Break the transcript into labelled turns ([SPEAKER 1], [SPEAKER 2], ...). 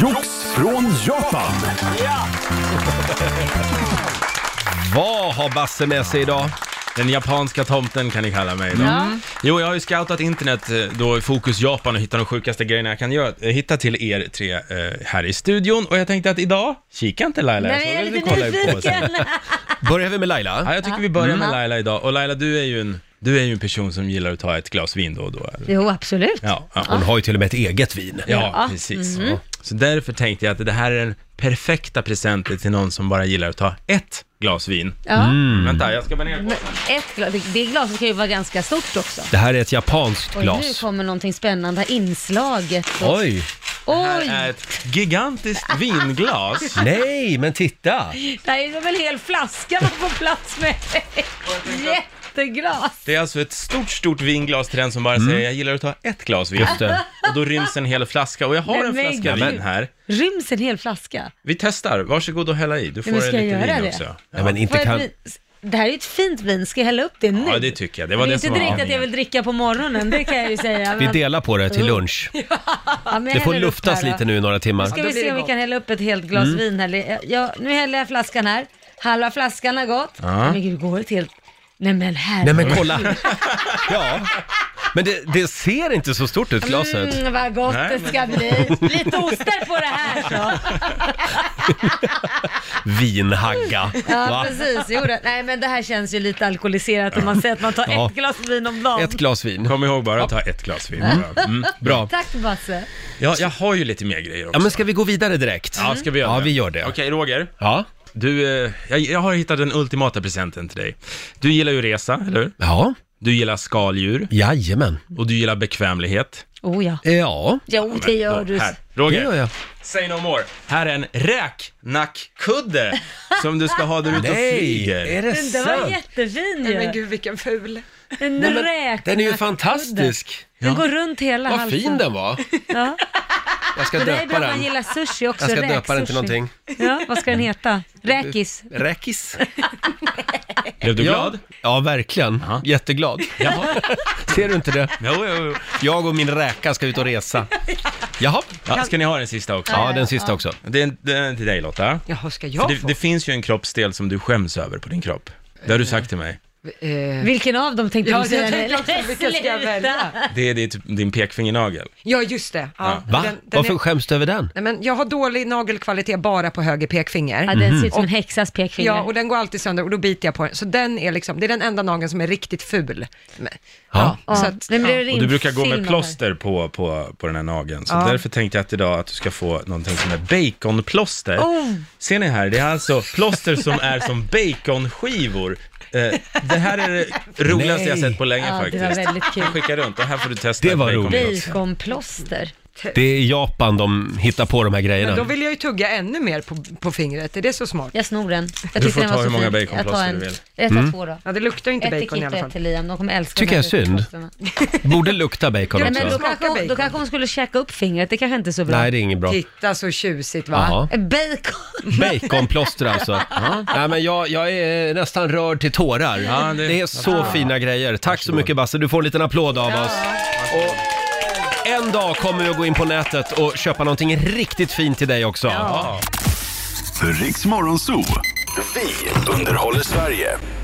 [SPEAKER 1] Jox från Japan.
[SPEAKER 2] Vad har Basse med sig idag? Den japanska tomten kan ni kalla mig idag. Jo, jag har ju scoutat internet eh, då i Fokus Japan och hittat de sjukaste grejerna jag kan göra, eh, hitta till er tre eh, här i studion. Och jag tänkte att idag, kika inte Laila,
[SPEAKER 3] Nej,
[SPEAKER 2] så
[SPEAKER 3] jag är
[SPEAKER 2] vi
[SPEAKER 3] lite
[SPEAKER 2] kollar ju på sen.
[SPEAKER 3] nyfiken. Mm.
[SPEAKER 1] Börjar vi med Laila?
[SPEAKER 2] Ja, jag tycker vi börjar med
[SPEAKER 3] Ja.
[SPEAKER 2] Laila idag. Och Laila, du är ju en, du är ju en person som gillar att ta ett glas vin då och då. eller?
[SPEAKER 3] Jo, absolut.
[SPEAKER 2] Ja, ja.
[SPEAKER 1] Hon har ju till och med ett eget vin.
[SPEAKER 2] Ja,
[SPEAKER 3] Ja. Mm.
[SPEAKER 2] precis. Så därför tänkte jag att det här är den perfekta presenten till någon som bara gillar att ta ett glas vin.
[SPEAKER 3] Ja.
[SPEAKER 1] Mm.
[SPEAKER 2] Vänta, jag ska bara ner på
[SPEAKER 3] Men Ett glas, det- det glaset kan ju vara ganska stort också.
[SPEAKER 1] Det här är ett japanskt
[SPEAKER 3] Och nu
[SPEAKER 1] glas.
[SPEAKER 3] kommer någonting spännande, inslaget. Och,
[SPEAKER 1] Oj!
[SPEAKER 2] Det
[SPEAKER 3] oj,
[SPEAKER 2] här är ett gigantiskt vinglas.
[SPEAKER 1] Nej, men titta!
[SPEAKER 3] det här är väl en hel flaska man får plats med. Jätteglas.
[SPEAKER 2] Det är alltså ett stort, stort vinglas till den som bara säger jag gillar att ta ett glas vin.
[SPEAKER 1] Mm. Just det.
[SPEAKER 2] Och då ryms en hel flaska. Och jag har
[SPEAKER 3] Nej,
[SPEAKER 2] en
[SPEAKER 3] men
[SPEAKER 2] flaska
[SPEAKER 3] gud.
[SPEAKER 2] vin här.
[SPEAKER 3] Ryms en hel flaska?
[SPEAKER 2] Vi testar. Varsågod och hälla i. Du får
[SPEAKER 3] men ska
[SPEAKER 2] lite
[SPEAKER 3] jag göra
[SPEAKER 2] vin
[SPEAKER 3] det?
[SPEAKER 2] också.
[SPEAKER 1] Nej, men inte
[SPEAKER 3] Vad är
[SPEAKER 1] kan...
[SPEAKER 3] det vi- Det här är ju ett fint vin, ska jag hälla upp det nu?
[SPEAKER 2] Ja, det tycker jag. Det
[SPEAKER 3] det
[SPEAKER 2] var
[SPEAKER 3] är
[SPEAKER 2] det
[SPEAKER 3] inte
[SPEAKER 2] som var
[SPEAKER 3] direkt att jag
[SPEAKER 2] aningen.
[SPEAKER 3] vill dricka på morgonen, det kan jag ju säga.
[SPEAKER 1] Vi
[SPEAKER 3] men-
[SPEAKER 1] delar på det till lunch.
[SPEAKER 3] ja, men jag
[SPEAKER 1] Det får
[SPEAKER 3] Mm. häller upp
[SPEAKER 1] luftas
[SPEAKER 3] här då.
[SPEAKER 1] lite nu i några timmar.
[SPEAKER 3] ska
[SPEAKER 4] då
[SPEAKER 3] vi
[SPEAKER 4] blir
[SPEAKER 3] se
[SPEAKER 4] det
[SPEAKER 3] om vi
[SPEAKER 4] gott.
[SPEAKER 3] kan hälla upp ett helt glas
[SPEAKER 1] Mm.
[SPEAKER 3] vin här. Jag- Jag, nu häller jag flaskan här. Halva flaskan har gått.
[SPEAKER 2] Ja.
[SPEAKER 3] Men gud, går det till... Nej men här.
[SPEAKER 1] Nej men
[SPEAKER 3] Mm.
[SPEAKER 1] kolla! Ja. Men det, det ser inte så stort ut, glaset.
[SPEAKER 3] Mm, vad gott
[SPEAKER 2] Nej,
[SPEAKER 3] det ska bli. Lite ostar på det här så.
[SPEAKER 1] Vinhagga.
[SPEAKER 3] Ja
[SPEAKER 1] Va?
[SPEAKER 3] precis, jo, det. Nej men det här känns ju lite alkoholiserat om man säger att man tar
[SPEAKER 1] Ja.
[SPEAKER 3] ett glas vin om dagen.
[SPEAKER 1] Ett glas vin.
[SPEAKER 2] Kom ihåg bara att ta ett glas vin. Bra. Mm.
[SPEAKER 1] Bra.
[SPEAKER 3] Tack Basse.
[SPEAKER 2] Ja, jag har ju lite mer grejer också.
[SPEAKER 1] Ja, men ska vi gå vidare direkt?
[SPEAKER 2] Ja, ska vi göra
[SPEAKER 1] Ja,
[SPEAKER 2] det?
[SPEAKER 1] vi gör det.
[SPEAKER 2] Okej, Roger.
[SPEAKER 1] Ja.
[SPEAKER 2] Du, eh, jag, jag har hittat den ultimata presenten till dig. Du gillar ju resa, eller hur?
[SPEAKER 1] Ja,
[SPEAKER 2] Du gillar skaldjur
[SPEAKER 1] jajamän. Eh,
[SPEAKER 2] och du gillar bekvämlighet.
[SPEAKER 3] Oh ja.
[SPEAKER 1] Ja,
[SPEAKER 3] Jo det gör
[SPEAKER 2] Då,
[SPEAKER 3] du.
[SPEAKER 2] Här.
[SPEAKER 1] det
[SPEAKER 2] Roger,
[SPEAKER 1] gör jag.
[SPEAKER 2] say no more. Här är en räknackkudde som du ska ha där ute och flyger.
[SPEAKER 1] det
[SPEAKER 3] Den var jättefin
[SPEAKER 4] Nej, men
[SPEAKER 3] ju.
[SPEAKER 4] gud vilken ful.
[SPEAKER 3] En
[SPEAKER 1] Nej, men
[SPEAKER 3] räk.
[SPEAKER 1] Den är ju fantastisk.
[SPEAKER 3] Den går runt hela
[SPEAKER 1] Vad
[SPEAKER 3] halsen.
[SPEAKER 1] fin den var.
[SPEAKER 3] Ja.
[SPEAKER 1] Jag ska
[SPEAKER 3] Det alltså. där är
[SPEAKER 1] döpa
[SPEAKER 3] bra om man
[SPEAKER 1] den.
[SPEAKER 3] gillar sushi också.
[SPEAKER 1] Jag ska döpa
[SPEAKER 3] räksushi.
[SPEAKER 1] den till någonting.
[SPEAKER 3] Ja, vad ska den heta? Räkis?
[SPEAKER 1] Räkis.
[SPEAKER 2] Blev du glad?
[SPEAKER 1] Ja, ja verkligen. Jätteglad.
[SPEAKER 2] Jaha.
[SPEAKER 1] Ser du inte det?
[SPEAKER 2] Jo, jo, jo.
[SPEAKER 1] Jag och min räka ska ut och resa. Jaha.
[SPEAKER 2] Ja, ska ni ha den sista också?
[SPEAKER 1] Ja, den sista också.
[SPEAKER 2] Det är en- det är en till dig Lotta.
[SPEAKER 4] Jaha, ska
[SPEAKER 2] För
[SPEAKER 4] jag
[SPEAKER 2] det,
[SPEAKER 4] få?
[SPEAKER 2] det finns ju en kroppsdel som du skäms över på din kropp. Det har du sagt till mig.
[SPEAKER 4] Eh,
[SPEAKER 3] Vilken av dem tänkte
[SPEAKER 4] Ja,
[SPEAKER 3] du säga?
[SPEAKER 4] jag tänkte också,
[SPEAKER 3] Nej,
[SPEAKER 4] vilken ska jag
[SPEAKER 3] sluta.
[SPEAKER 4] välja?
[SPEAKER 2] Det är ditt, din pekfingernagel.
[SPEAKER 4] Ja, just det. Ja.
[SPEAKER 1] Va?
[SPEAKER 4] Den, den
[SPEAKER 1] Varför
[SPEAKER 4] är,
[SPEAKER 1] skäms du över den?
[SPEAKER 4] nej, men jag har dålig nagelkvalitet bara på höger
[SPEAKER 3] Ja,
[SPEAKER 1] Mm.
[SPEAKER 4] pekfinger.
[SPEAKER 3] den ser ut som en häxas pekfinger.
[SPEAKER 4] Ja, och den går alltid sönder och då biter jag på den. Så den är liksom, det är den enda nageln som är riktigt ful. Men,
[SPEAKER 1] Ja.
[SPEAKER 3] Ja,
[SPEAKER 4] så att,
[SPEAKER 3] men blir det
[SPEAKER 4] ja.
[SPEAKER 3] din
[SPEAKER 2] Och du brukar gå
[SPEAKER 3] film
[SPEAKER 2] med
[SPEAKER 3] av
[SPEAKER 2] plåster på, på, på den här nageln. Så
[SPEAKER 4] Ja.
[SPEAKER 2] därför tänkte jag att idag att du ska få någonting som är baconplåster.
[SPEAKER 3] Oh.
[SPEAKER 2] Ser ni här? Det är alltså plåster som är som baconskivor. Eh, det här är det roligaste jag
[SPEAKER 1] Nej.
[SPEAKER 2] sett på länge
[SPEAKER 3] Ja, det
[SPEAKER 2] faktiskt.
[SPEAKER 3] var väldigt kul.
[SPEAKER 2] Jag skickar runt och här får du testa
[SPEAKER 1] Det var
[SPEAKER 2] bacon
[SPEAKER 3] det
[SPEAKER 1] roligt.
[SPEAKER 3] här?
[SPEAKER 2] också.
[SPEAKER 3] Baconplåster.
[SPEAKER 1] Det är i Japan de hittar på de här
[SPEAKER 4] men då
[SPEAKER 1] grejerna.
[SPEAKER 4] vill jag ju tugga ännu mer på, på fingret. Är det så smart?
[SPEAKER 3] Jag snor den. Jag
[SPEAKER 2] Du
[SPEAKER 3] tyckte
[SPEAKER 2] får
[SPEAKER 3] den
[SPEAKER 2] ta
[SPEAKER 3] var så
[SPEAKER 2] hur många
[SPEAKER 3] fin.
[SPEAKER 2] baconplåster
[SPEAKER 3] Jag tar en-
[SPEAKER 2] du vill. Mm.
[SPEAKER 3] Jag tar två då.
[SPEAKER 4] Ja, det luktar ju inte
[SPEAKER 3] Ett till
[SPEAKER 4] bacon i
[SPEAKER 3] Kit och
[SPEAKER 4] alla
[SPEAKER 3] ett
[SPEAKER 4] fall.
[SPEAKER 3] till Liam, de kommer älska
[SPEAKER 1] Tycker
[SPEAKER 3] de här
[SPEAKER 1] jag är synd.
[SPEAKER 3] baconplåsterna.
[SPEAKER 1] Borde lukta bacon
[SPEAKER 3] Nej, men då
[SPEAKER 1] också.
[SPEAKER 3] kanske, hon, då kanske hon skulle käka upp fingret, det kanske inte är så bra.
[SPEAKER 1] Nej, det är inget bra.
[SPEAKER 4] Titta så tjusigt va?
[SPEAKER 1] Jaha.
[SPEAKER 3] Bacon!
[SPEAKER 1] Baconplåster alltså. Nej, men jag, jag är nästan rörd till tårar.
[SPEAKER 2] Ja,
[SPEAKER 1] det...
[SPEAKER 2] det-
[SPEAKER 1] är så fina grejer. Tack så mycket Basse, du får en liten applåd av oss. Och en dag kommer vi att gå in på nätet och köpa någonting riktigt fint till dig också.
[SPEAKER 5] Riks Morgonzoo. Vi underhåller Sverige.